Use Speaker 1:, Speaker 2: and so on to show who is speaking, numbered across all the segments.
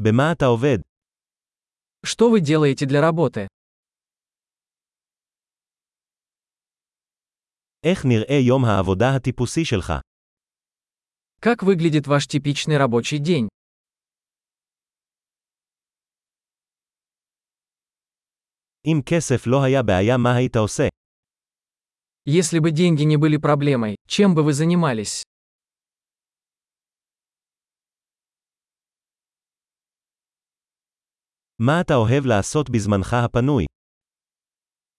Speaker 1: במה אתה עובד?
Speaker 2: Что вы делаете для работы?
Speaker 1: איך נראה יום העבודה הטיפוסי שלך?
Speaker 2: Как выглядит ваш типичный рабочий день?
Speaker 1: אם כסף לא היה בעיה מה היית עושה?
Speaker 2: Если бы деньги не были проблемой, чем бы вы занимались?
Speaker 1: מה אתה אוהב לעשות בזמנך הפנוי?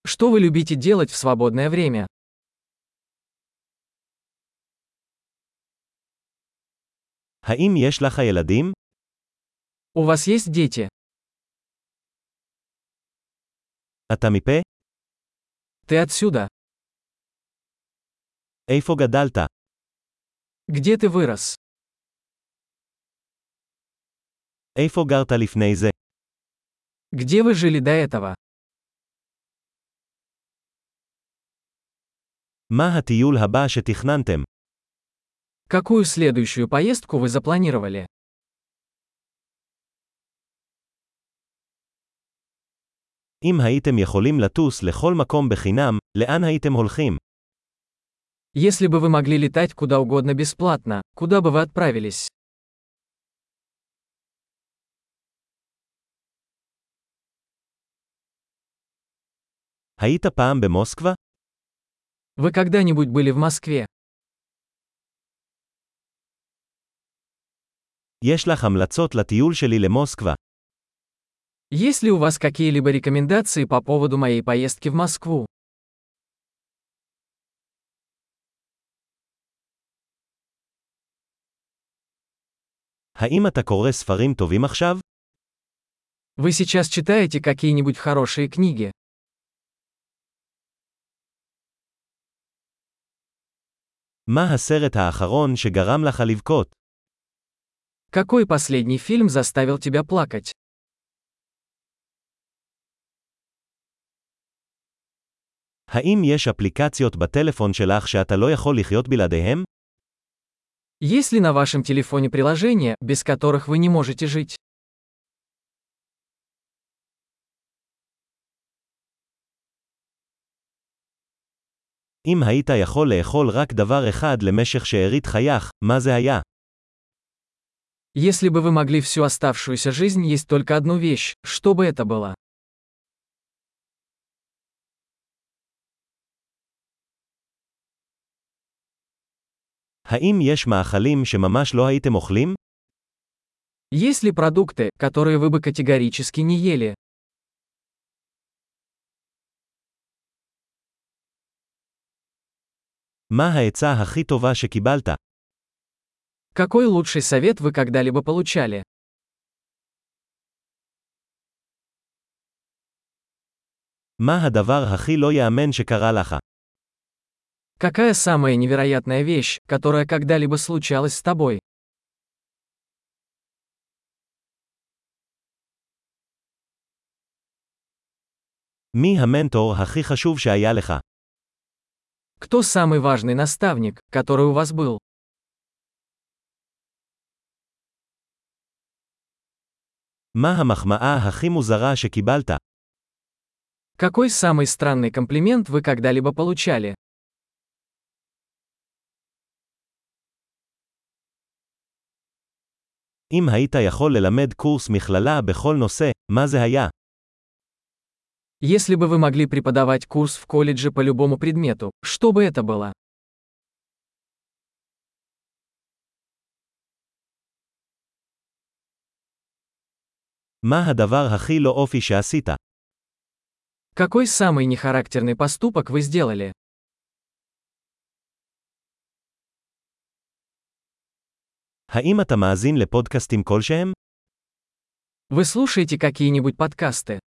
Speaker 2: Что вы любите делать в свободное время?
Speaker 1: האם יש לך ילדים?
Speaker 2: У вас есть дети?
Speaker 1: אתה מפה?
Speaker 2: Ты отсюда?
Speaker 1: איפה גדלת?
Speaker 2: Где ты вырос?
Speaker 1: איפה גרת לפני זה?
Speaker 2: Где вы жили до этого?
Speaker 1: מה הטיול הבא שתכננתם?
Speaker 2: Какую следующую поездку вы запланировали?
Speaker 1: אם הייתם יכולים לטוס לכל מקום בחינם, לאן הייתם הולכים?
Speaker 2: Если бы вы могли летать куда угодно бесплатно, куда бы вы отправились?
Speaker 1: היית פעם במוסקבה?
Speaker 2: Вы когда-нибудь были в Москве?
Speaker 1: יש לך המלצות לטיול שלי למוסקבה.
Speaker 2: Есть ли у вас какие-либо рекомендации по поводу моей поездки в Москву?
Speaker 1: האם אתה קורא ספרים טובים עכשיו?
Speaker 2: Вы сейчас читаете какие-нибудь хорошие книги?
Speaker 1: מה הסרט האחרון שגרם לך לבכות?
Speaker 2: Какой последний фильм заставил тебя плакать?
Speaker 1: האם יש אפליקציות בטלפון שלך שאתה לא יכול לחיות בלעדיהם?
Speaker 2: Есть ли на вашем телефоне приложения, без которых вы не можете жить?
Speaker 1: אם היית יכול לאכול רק דבר אחד למשך שארית חייך, מה זה היה?
Speaker 2: Если бы вы могли всю оставшуюся жизнь есть только одну вещь, что бы это было?
Speaker 1: האם יש מאכלים שממש לא הייתם אוכלים?
Speaker 2: Есть ли продукты, которые вы бы категорически не ели?
Speaker 1: מה העצה הכי טובה שקיבלת?
Speaker 2: Какой лучший совет вы когда-либо получали?
Speaker 1: מה הדבר הכי לא ייאמן שקרה לך?
Speaker 2: Какая самая невероятная вещь, которая когда-либо случалась с тобой?
Speaker 1: מי המנטור הכי חשוב שהיה לך?
Speaker 2: Кто самый важный наставник, который у вас был?
Speaker 1: מה המחמאה הכי מוזרה שקיבלת?
Speaker 2: Какой самый странный комплимент вы когда-либо получали?
Speaker 1: אם היית יכול ללמד קורס מכללה בכל נושא, מה זה היה?
Speaker 2: Если бы вы могли преподавать курс в колледже по любому предмету, что бы это было?
Speaker 1: מה הדבר הכי לא אופי שעשית?
Speaker 2: Какой самый нехарактерный поступок вы сделали?
Speaker 1: האם אתה מאזין לפודקאסטים כלשהם?
Speaker 2: Вы слушаете какие-нибудь подкасты?